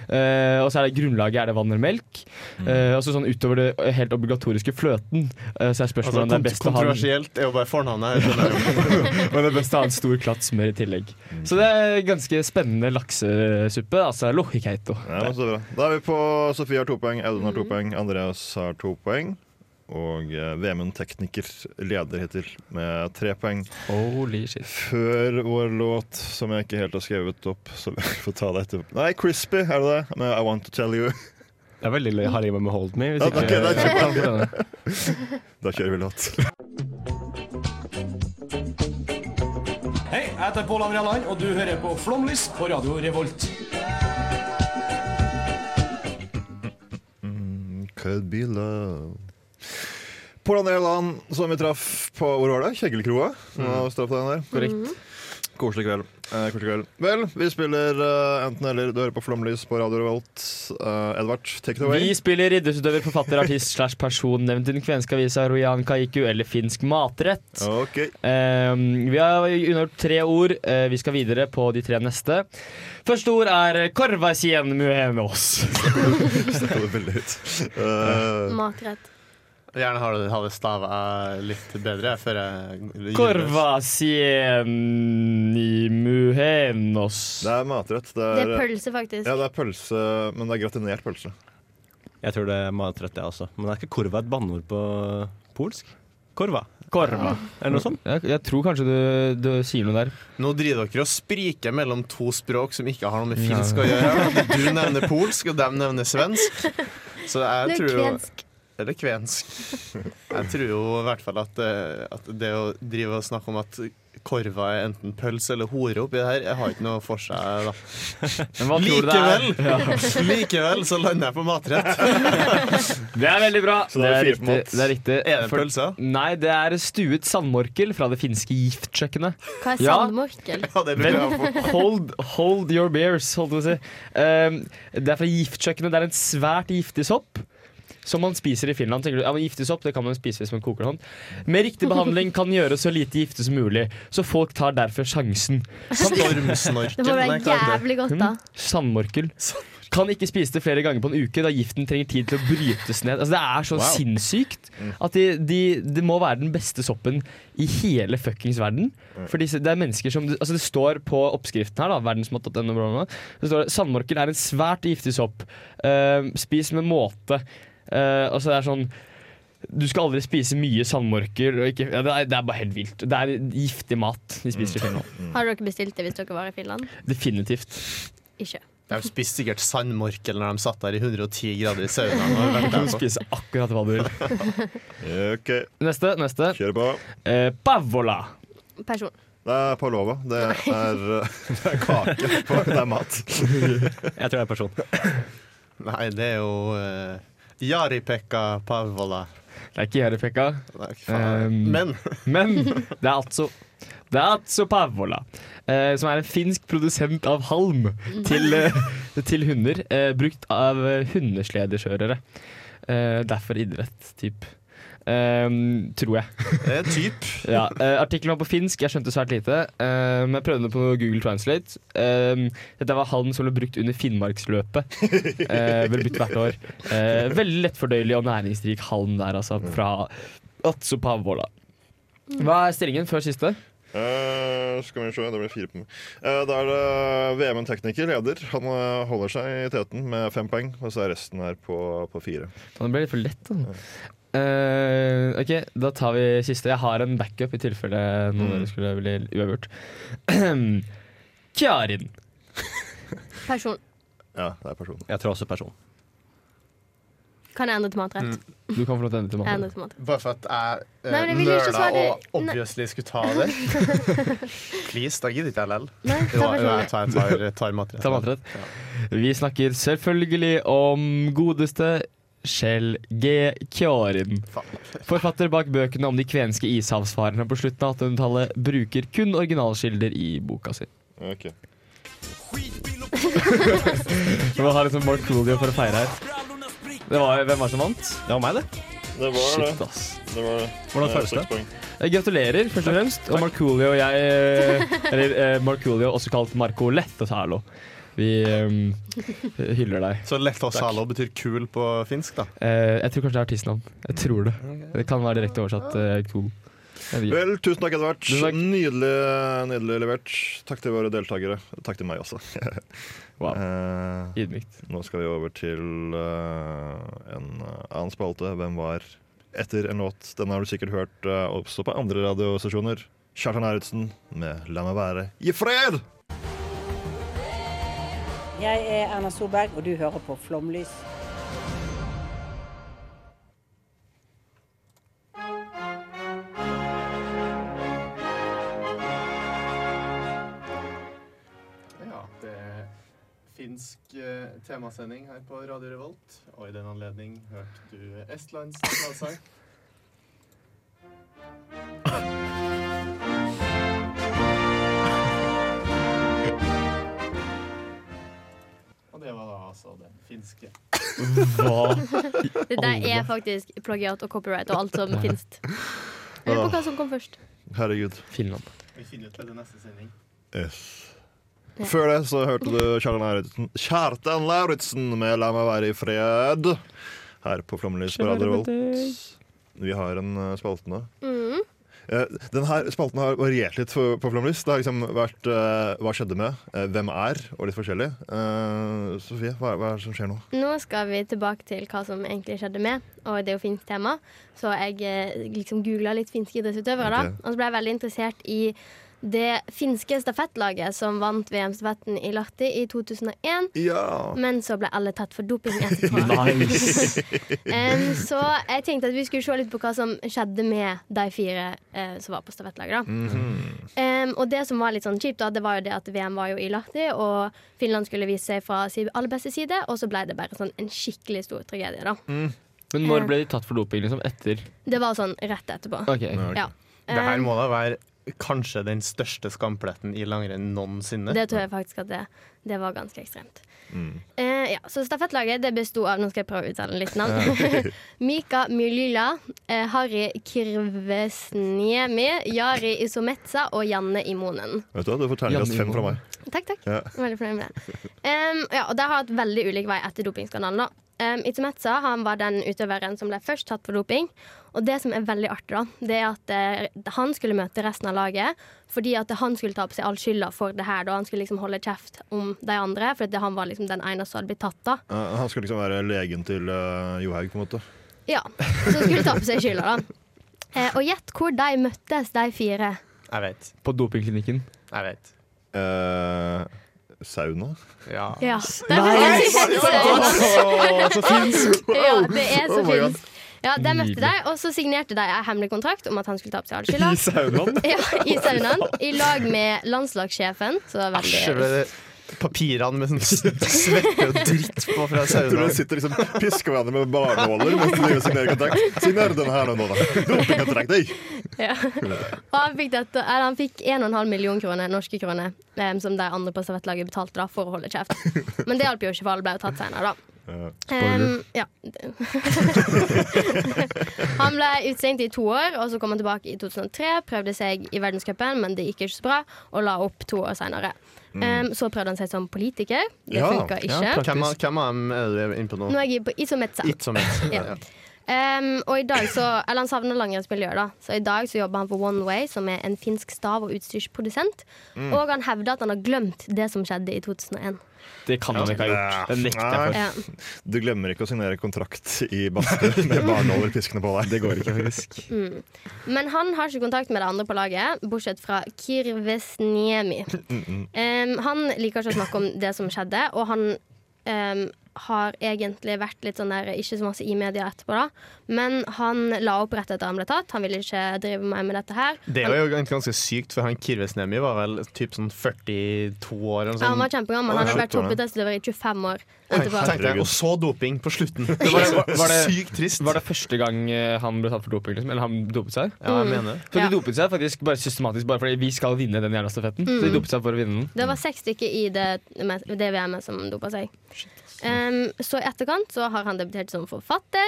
G: Eh, og så er det grunnlaget er det vann eller melk. Eh, og så sånn utover det helt obligatoriske fløten, eh, så er spørsmålet om det
H: Altså, kont
G: er best å ha en [LAUGHS]
H: kontroversielt er jo bare fornavnet. her, skjønner du.
G: og det beste er å ha en stor klatt smør i tillegg. Så det er ganske spennende laksesuppe. Altså lohikeito.
E: Ja, men så bra. Da er vi på Sofie har to poeng, Audun har to
G: Mm.
E: poeng, Andreas har to poeng. Og eh, Vemund tekniker leder hittil med tre poeng.
G: Holy shit.
E: Før vår låt, som jeg ikke helt har skrevet opp, så [LAUGHS] vi får ta det etterpå. Nei, Crispy, er det det? Med I Want To Tell You.
K: Det er veldig lille Halima med Hold Me. Hvis
E: Ja,
K: ikke,
E: ok, da kjøper jeg
G: Spennende.
E: den. [LAUGHS] Da kjører vi låt.
C: Hei, jeg heter Pål André Land, og du hører på Flomlys på Radio Revolt.
E: Could be love. Pål André Mm. Land, som vi traff på Hvor var det? Kjeglekroa. Som var straff på den der. Korrekt. Koselig kveld. Eh, kort og kveld. Vel, vi spiller eh, enten eller. Du hører på Flomlys på Radio Revolt. Eh, Edvard, take it away.
G: Vi spiller idrettsutøver, forfatter, artist slash person nevnt i den kvenske avisa Rojan Kaiku eller finsk matrett. Eh, vi har unnagjort tre ord. Eh, vi skal videre på de tre neste. Første ord er korvasien muenos.
E: Snakka det veldig høyt. Eh,
F: Matrett.
H: Gjerne har det, har det stava litt bedre før jeg
G: Korvasien muenos.
E: Det er matrett. Det
F: Det er pølse, faktisk.
E: Ja, det er pølse, men det er gratinert pølse.
K: Jeg tror det er matrett, jeg også. Men er ikke korva et banneord på polsk? Korva.
G: Korva.
K: Er det noe sånt?
G: Jeg, jeg tror kanskje du, du sier noe der.
H: Nå driver dere og spriker mellom to språk som ikke har noe med finsk å gjøre. Du nevner polsk, og dem nevner svensk. Så jeg
F: Det er
H: tror jo
F: kvensk.
H: Eller kvensk. Jeg tror jo i hvert fall at, eh, at det å drive og snakke om at korva er enten pølse eller hore oppi det her, jeg har ikke noe for seg, da.
G: hva tror du det
H: likevel,
G: er? [LAUGHS] Ja.
H: likevel så lander jeg på matrett.
G: Det er veldig bra.
H: Så da er det fire på
G: riktig.
H: mat.
G: Det [LAUGHS] er, riktig.
H: Er det
G: For-
H: pølse?
G: Nei, det er stuet sandmorkel fra det finske giftkjøkkenet.
F: Hva er
G: Ja.
F: sandmorkel?
G: Vent, [LAUGHS] hold, hold your beers, holdt jeg på å si. Um, det er fra giftkjøkkenet. Det er en svært giftig sopp. Som man spiser i Finland. tenker du, ja, men Giftig sopp det kan man spise hvis man koker hånd. Med riktig behandling kan gjøre så lite gifte som mulig, så folk tar derfor sjansen. Kan-
F: Det må være jævlig godt, da.
G: Mm, Sandmorkel. Kan ikke spise det flere ganger på en uke, da giften trenger tid til å brytes ned. Altså, det er så
K: Wow.
G: sinnssykt at de, de, det må være den beste soppen i hele fuckings verden. For disse, det er mennesker som Altså, det står på oppskriften her, da, verdensmat.no, bla, bla, bla. så står det sandmorkel er en svært giftig sopp. Eh, spis med måte. Eh, altså, det er sånn du skal aldri spise mye sandmorkel. Og ikke, ja, det, er, det er bare helt vilt. Det er giftig mat de spiser i
H: Mm.
G: Finland.
F: Har dere bestilt det hvis dere var i Finland?
G: Definitivt.
F: Ikke.
H: De spiste sikkert sandmorkel når de satt der i 110 grader i saunaen. og ventet
G: Du
H: på-
G: spiser akkurat hva du vil. Neste. neste
E: Kjør på.
G: Eh, Pavola.
F: Person.
E: Det er palova.
G: [LAUGHS]
E: Det er, eh, det er kake. på- Det er mat.
K: Jeg tror det er person.
H: Nei, det er jo eh, Jaripekka Pavola.
G: Det er ikke Jaripekka.
H: faen.
G: men. Ehm, men det er altså det er altså Pavola, eh, som er en finsk produsent av halm til, eh, til hunder. Eh, brukt av eh, hundesledekjørere. Eh, derfor idrett, typ. Eh, tror jeg.
H: Det er typ.
G: ja, eh, Artikkelen var på finsk, jeg skjønte svært lite. eh, men jeg prøvde det på Google Translate. Eh, dette var halm som ble brukt under Finnmarksløpet. Eh, ble brukt hvert år. Eh, veldig lettfordøyelig og næringsrik halm der, altså. Fra Atso Pavola. Hva er stillingen før siste?
E: Eh, skal vi se, det blir fire på meg. Eh, da er det VM-en tekniker, leder. Han eh, holder seg i teten med fem poeng, og så er resten her på, på fire.
G: Faen, Det ble litt for lett. Da. Eh, ok, da tar vi siste. Jeg har en backup i tilfelle noen av dere skulle bli uavgjort. [CLEARS THROAT] Kjarin.
F: Person.
E: Ja, det er person.
K: Jeg tror også person.
F: Kan jeg endre til
H: Mm.
F: matrett?
G: Du kan få lov til å ende til
F: Jeg ender til matrett.
H: Bare for at jeg
F: Nei, men
H: eh,
F: jeg ville ikke
H: nøla
F: svare-
H: og obviously skulle ta det.
F: [LAUGHS]
H: Please, da gidder ikke jeg lell.
F: Nei,
H: Jo,
F: ta
H: jo, jeg
F: personlig.
H: tar, tar, tar matrett.
G: Ta matrett. Vi snakker selvfølgelig om godeste Kjell G. Kjarin. Forfatter bak bøkene om de kvenske ishavsfarerne på slutten av 1800-tallet bruker kun originalkilder i boka si.
E: Ok.
G: Hva har liksom Mark Coolio for å feire her? Det var, hvem var det som vant? Det var meg, det.
E: Det var
G: Shit,
E: det.
G: ass.
E: det, var det.
G: Hvordan
E: Eh,
G: føles det?
E: seks poeng.
G: Jeg gratulerer, først og fremst. Og Markoolio og jeg eh, Eller eh, Markoolio, også kalt Marco Lettosalo. Vi eh, hyller deg.
H: Så Lettosalo betyr kul på finsk, da.
G: Eh, jeg tror kanskje det er artistnavn. Jeg tror det. Det kan være direkte oversatt. eh, cool. Jeg vet ikke.
E: Vel, tusen takk, Edvard.
G: Tusen takk.
E: Nydelig, nydelig levert. Takk til våre deltakere. Takk til meg også. [LAUGHS] Eh,
G: Ydmykt.
E: nå skal vi over til eh, en annen spalte. Hvem var etter en låt? Den har du sikkert hørt eh, også på andre radiostasjoner. Kjartan Eriksen med 'La meg være i fred'.
L: Jeg er Erna Solberg, og du hører på Flomlys.
H: Ja, det er finsk eh, temasending her på Radio Revolt. Og i den anledning hørte du Estlands nasjonalsang. det var da altså det finske.
F: Det der er faktisk plagiat og copyright og alt som
H: [LAUGHS]
F: finnes. Jeg lurer på hva som kom først.
E: Herregud.
G: [LAUGHS] Finland.
H: Vi finner ut det til neste sending.
E: Yes. Før det så hørte du Kjartan Lauritzen, Kjartan Lauritzen med 'La meg være i fred' her på Flomlys på Radio Revolt. Vi har en eh, spalte nå.
F: Mm.
E: Eh, Den her spalten har variert litt for- på Flomlys. Det har liksom vært eh, hva skjedde med, eh, hvem er, og litt forskjellig. Eh, Sofie, hva, hva er det som skjer nå?
F: Nå skal vi tilbake til hva som egentlig skjedde med, og det er jo finsk tema. Så jeg eh, liksom googla litt finske idrettsutøvere, da.
M: Ok.
F: Og så ble jeg veldig interessert i det finske stafettlaget som vant VM-stafetten i Lahti i 2001.
E: Ja.
F: Men så ble alle tatt for doping
H: [LAUGHS]
F: etterpå. [LAUGHS] Em, så jeg tenkte at vi skulle se litt på hva som skjedde med de fire eh, som var på stafettlaget. da.
H: Mhm.
F: Em, og det som var litt sånn kjipt, da, det var jo det at VM var jo i Lahti, og Finland skulle vise seg fra sin aller beste side, og så ble det bare sånn en skikkelig stor tragedie, da.
H: Mm.
G: Men når ble de tatt for doping? liksom Etter?
F: Det var sånn rett etterpå. Ja.
H: Det her
F: Em,
H: må da være kanskje den største skampletten i langrenn noensinne.
F: det tror jeg faktisk at det, det var ganske ekstremt. Eh, ja, så stafettlaget det besto av Nå skal jeg prøve å uttale litt navn.
M: Ja.
F: [LAUGHS] Mika Mylila, eh, Harry Kirvesniemi, Jari Isometsa og Janne Imonen.
E: Vet Du hva, du får terningkast fem fra meg.
F: Takk, takk.
E: Ja.
F: Jeg er Veldig fornøyd med det. Em, ja, og de har hatt veldig ulik vei etter dopingskandalen. da. Em, Itometsa han var den utøveren som ble først tatt for doping. Og det som er veldig artig, da, det er at eh, han skulle møte resten av laget fordi at han skulle ta på seg all skylda for det her. Da. Han skulle liksom holde kjeft om de andre, for han var liksom den eneste som hadde blitt tatt. da.
E: Eh, Han skulle liksom være legen til eh, Johaug, på en måte.
F: Ja, Så skulle ta på seg skylda, da. Eh, og gjett hvor de møttes, de fire.
H: Jeg vet.
G: På dopingklinikken?
H: Jeg vet.
E: Eh, sauna?
H: Ja.
F: Ja.
M: Nei!
F: Å,
M: Så finsk. Wow.
F: [LAUGHS] Ja, det er så
M: Oh my God.
F: finsk. Ja, De møtte deg, og så signerte de en hemmelig kontrakt om at han skulle ta på seg all skylda.
M: I [LAUGHS] saunaen?
F: Ja, I saunaen. I lag med landslagssjefen. Så det var
H: Æsj,
F: veldig
H: ble det papirene med sånn svette og dritt på fra
E: Jeg tror
H: saunaen.
E: de sitter liksom pisker hverandre med barnåler mens de driver og signerer kontrakt. Signer den her nå, da. Dopingkontrakt, ei!
F: ja. Og han fikk, dette, eller han fikk 1,5 million kroner, norske kroner em, som de andre på stafettlaget betalte da, for å holde kjeft. Men det hjalp jo ikke, for alle ble jo tatt senere, da. Em, ja. [LAUGHS] han ble utestengt i to år, og så kom han tilbake i 2003. Prøvde seg i verdenscupen, men det gikk ikke så bra, og la opp to år seinere.
H: Mm.
F: så prøvde han seg som politiker. Det funka ikke.
H: hvem, av- hvem av dem er du inne på nå?
F: Nå er jeg på Isometsa.
H: Itzomet.
F: Ja. Em, og i dag så, eller Han savner langrennsmiljøet, da. Så i dag så jobber han for One Way, som er en finsk stav- og utstyrsprodusent.
G: Mm.
F: Og han hevder at han har glemt det som skjedde i 2001.
G: Det kan han ikke ha gjort. Det nekter jeg for.
F: Ja.
E: Du glemmer ikke å signere kontrakt i badstue med barnåler piskende på deg. Det går ikke, [LAUGHS] faktisk.
F: Mm. Men han har ikke kontakt med de andre på laget, bortsett fra Kirvesniemi. Em, han liker ikke å snakke om det som skjedde, og han em, har egentlig vært litt sånn der ikke så masse i media etterpå, da. Men han la opp rett etter han ble tatt. Han ville ikke drive mer med dette her.
H: Det
F: Han-
H: er jo egentlig ganske sykt, for han Kirvesnemi var vel typ sånn 42 år eller
F: Ja, han var kjempegammel. Han hadde vært
H: toppet
F: toppidrettsutøver i 25 år. etterpå.
H: Og så doping på slutten.
G: Det
H: [LAUGHS]
G: var, var, var det,
H: sykt trist.
G: Var det første gang eh, han ble tatt for doping? Liksom? Eller han dopet seg?
H: Ja, jeg Mm. mener det.
G: Så de
F: Ja.
G: dopet seg faktisk bare systematisk bare fordi vi skal vinne den jævla stafetten. Så de
F: Mm.
G: dopet seg for å vinne den.
F: Det var seks stykker i det, det VM-et som dopa seg. Ehm, så i etterkant så har han debutert som forfatter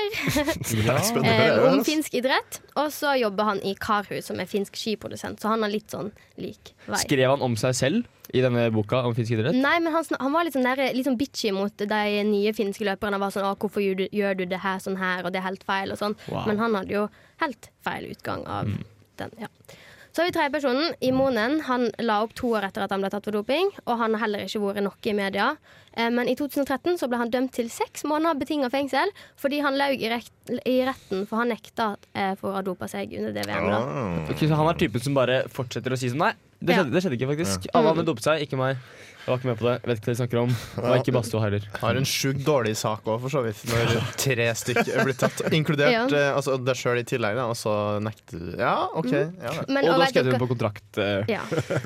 M: Ja.
F: ehm, om finsk idrett. Og så jobber han i Karhu, som er finsk skiprodusent, så han har litt sånn lik vei.
G: Skrev han om seg selv i denne boka om finsk idrett?
F: Nei, men han, snak- han var litt sånn, der, litt sånn bitchy mot de nye finske løperne. Han var sånn, «Å, 'Hvorfor gjør du, gjør du det her sånn her, og det er helt feil?' og sånn.
M: Wow.
F: Men han hadde jo helt feil utgang av den. ja. Så har vi tredjepersonen. Imonen han la opp to år etter at han ble tatt for doping, og han har heller ikke vært noe i media. Eh, Men i 2013 så ble han dømt til seks måneder betinga fengsel fordi han løy i, rekt, i retten, for han nekta eh, for å ha dopa seg under det VM-et. da.
G: Ok, så han er typen som bare fortsetter å si sånn Nei, det
F: Ja.
G: skjedde, det skjedde ikke, faktisk. Alle andre dopet seg, ikke meg. Jeg var ikke med på det. Vet ikke hva de snakker om. Det var ikke Bastua heller.
H: Har en sjukt dårlig sak òg, for så vidt. Når tre stykker blir tatt, inkludert
F: Ja.
H: eh, altså, deg sjøl i tillegg, da, og så nekter du. Ja, OK.
F: Mm.
H: Ja.
F: Men Og å da være skrev dere- hun
G: på kontrakt. eh,
F: Ja.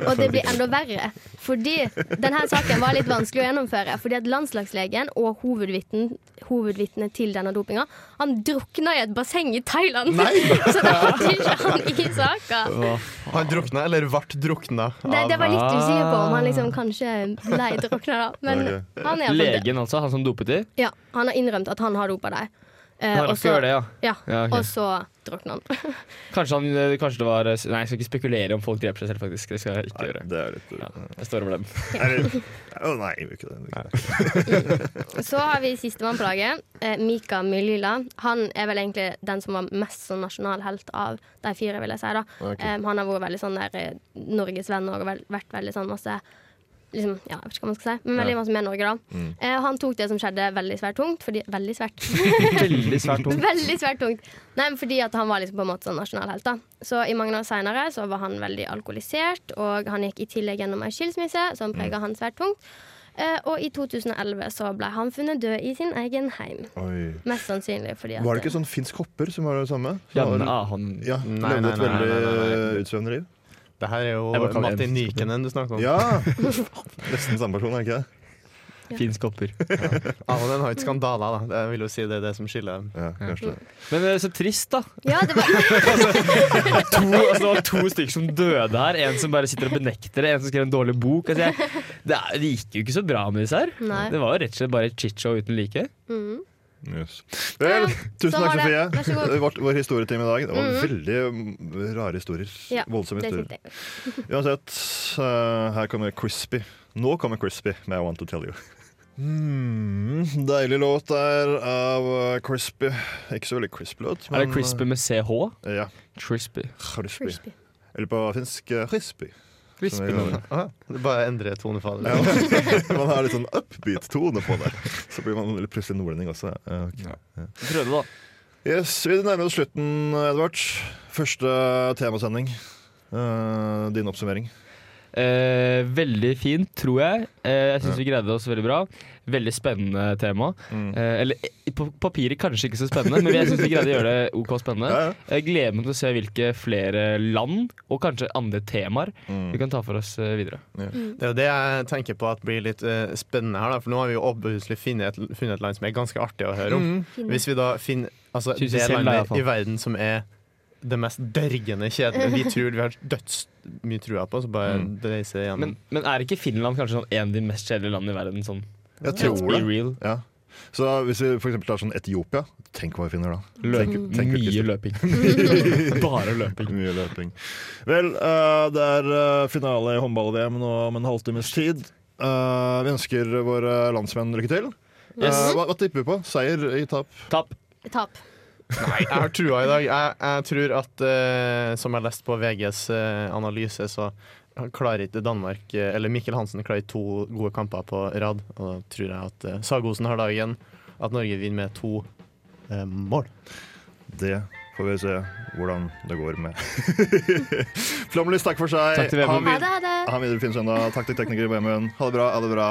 F: Og det blir enda verre, fordi denne saken var litt vanskelig å gjennomføre. Fordi at landslagslegen og hovedvitnen- hovedvitnet til denne dopinga, han drukna i et basseng [LAUGHS] i Thailand! Så det hadde ikke han i saka.
H: Han drukna, eller ble drukna, drukna.
F: Det, det var litt usikker på om han liksom kanskje ble drukna, da. Men han er iallfall død.
G: Legen, altså? Han som dopet de?
F: Ja, han har innrømt at han har dopa deg. Eh,
G: Han
F: og
G: skal
F: så-
G: gjøre det, ja.
F: ja.
G: Ja, ok.
F: Og så drukna han.
G: Kanskje, han, eh, kanskje det var Nei, jeg skal ikke spekulere om folk dreper seg selv, faktisk. Det skal jeg ikke gjøre. ja, jeg står over den.
E: Å eh, nei, jeg gjør ikke det.
F: Så har vi sistemann på laget, eh, Mika Myllylä. Han er vel egentlig den som var mest sånn nasjonalhelt av de fire, vil jeg si. da.
N: Ok.
F: Eh, han har vært veldig sånn der eh, Norgesvenn og vel, vært veldig sånn masse liksom, ja, Jeg vet ikke hva man skal si, men veldig
G: Ja.
F: masse med Norge, da.
G: Mm.
F: Eh, og han tok det som skjedde, veldig svært tungt. Fordi, veldig svært.
G: [LAUGHS] Veldig svært tungt.
F: [LAUGHS] veldig svært tungt. Nei, men fordi at han var liksom på en måte sånn nasjonalhelt, da. Så i mange år seinere så var han veldig alkoholisert, og han gikk i tillegg gjennom ei skilsmisse
E: Mm.
F: som prega han svært tungt. Eh, og i 2011 så ble han funnet død i sin egen heim.
E: Oi.
F: Mest sannsynlig fordi at
E: Var det ikke sånn finsk hopper som var det samme? Som
G: Ja,
E: har-
G: men, ah, han-
E: ja,
G: Nei,
E: levde
G: nei,
E: et
G: nei,
E: veldig
G: nei, nei,
E: eh, utsvevende liv.
H: Det her er
E: Jeg bare
H: jo
E: kaller
H: Matti
E: det en finsk
H: Nykenen du snakker om.
G: [LAUGHS]
E: Ja! Nesten samme person, er det ikke det?
G: Finsk hopper.
H: Ja, og den har jo ikke skandaler, da. Jeg vil jo si det er det som skiller dem.
G: Men eh, så trist, da.
E: sånn?
F: Ja, det
E: [LAUGHS]
F: var
G: To, altså, det var to stykker som døde her. En som bare sitter og benekter det, en som skrev en dårlig bok. Altså, jeg, det, er, det gikk jo ikke så bra med disse her.
F: Nei.
G: Det var jo rett og slett bare et chit-show uten like.
F: mm.
E: Vel,
F: Ja,
E: tusen
F: sånn
E: takk,
F: var det.
E: Sofie.
F: Vær så
E: [LAUGHS]
F: god.
E: Det var Eh, vår historietime i dag. Det var
F: Mhm.
E: veldig mm, rare historier.
F: Ja,
E: Voldsomme
F: det
E: historier.
F: tenkte
E: Uansett, eh, her kommer Crispy. Nå kommer Crispy med I Want To Tell [LAUGHS] You. Mm, deilig låt der av eh, Crispy. Ikke så veldig crisp låt. eh,
G: Er det Crispy med CH?
E: Ja.
G: Crispy.
E: Crispy. Eller på finsk eh, crispy. [LAUGHS]
G: Crispy.
E: Som vi kaller det.
H: Aha, det bare endrer tonefader.
E: Ja, man har litt sånn upbeat-tone på det. Så blir man litt plutselig nordlending også. Ja, ok. Ja.
G: Prøvde, da.
E: Yes, Vi nærmer oss slutten, eh, Edvard. Første temasending. Eh, din oppsummering.
G: Eh, veldig fint, tror jeg. Eh, jeg syns vi greide oss veldig bra. Veldig spennende tema. Eh, eller eh, på papiret kanskje ikke så spennende, men jeg syns vi greide å gjøre det OK spennende. Jeg gleder meg til å se hvilke flere land, og kanskje andre temaer, vi kan ta for oss eh, videre.
H: Det er jo det jeg tenker på at blir litt eh, spennende her, da. For nå har vi jo overbeviselig funnet, et- funnet et land som er ganske artig å høre om.
G: Mhm.
H: Hvis vi da finner altså,
G: Synes vi
H: det
G: selv, da, i hvert
H: landet
G: fall.
H: i verden som er det mest dørgende kjedelige vi tror vi har dødsmye trua på, så bare reiser gjennom.
G: Mm. Men, men er ikke Finland kanskje sånn en av de mest kjedelige landene i verden? Sånn.
E: Jeg tror
G: Let's be
E: det.
G: real.
E: Ja. Så hvis vi for eksempel tar sånn Etiopia, tenk hva vi finner da. [LAUGHS]
G: Løp-
E: Tenk- tenk hvilke-
G: Mye løping.
E: [LAUGHS]
G: Bare løping.
E: Mye løping. Vel, eh, det er eh, finale i håndball-VM nå om en halvtimes tid. Eh, vi ønsker våre landsmenn lykke til. Eh,
H: Yes.
E: hva, hva tipper vi på? Seier i tap?
G: Tap.
F: Tap.
H: Nei, jeg har trua i dag. Jeg, jeg tror at, eh, som jeg har lest på VGs eh, analyse, så klarer ikke Danmark eh, Eller Mikkel Hansen klarer to gode kamper på rad. Og da tror jeg at eh, Sagosen har dagen. At Norge vinner med to eh, mål.
E: Det får vi se hvordan det går med. [LAUGHS] Flomlys, takk for seg.
H: Takk til Vemund.
E: Ha en vid-
F: Ha det, ha det.
E: Ha en videre fin søndag. Takk til tekniker Vemund. Ha det bra. Ha det bra.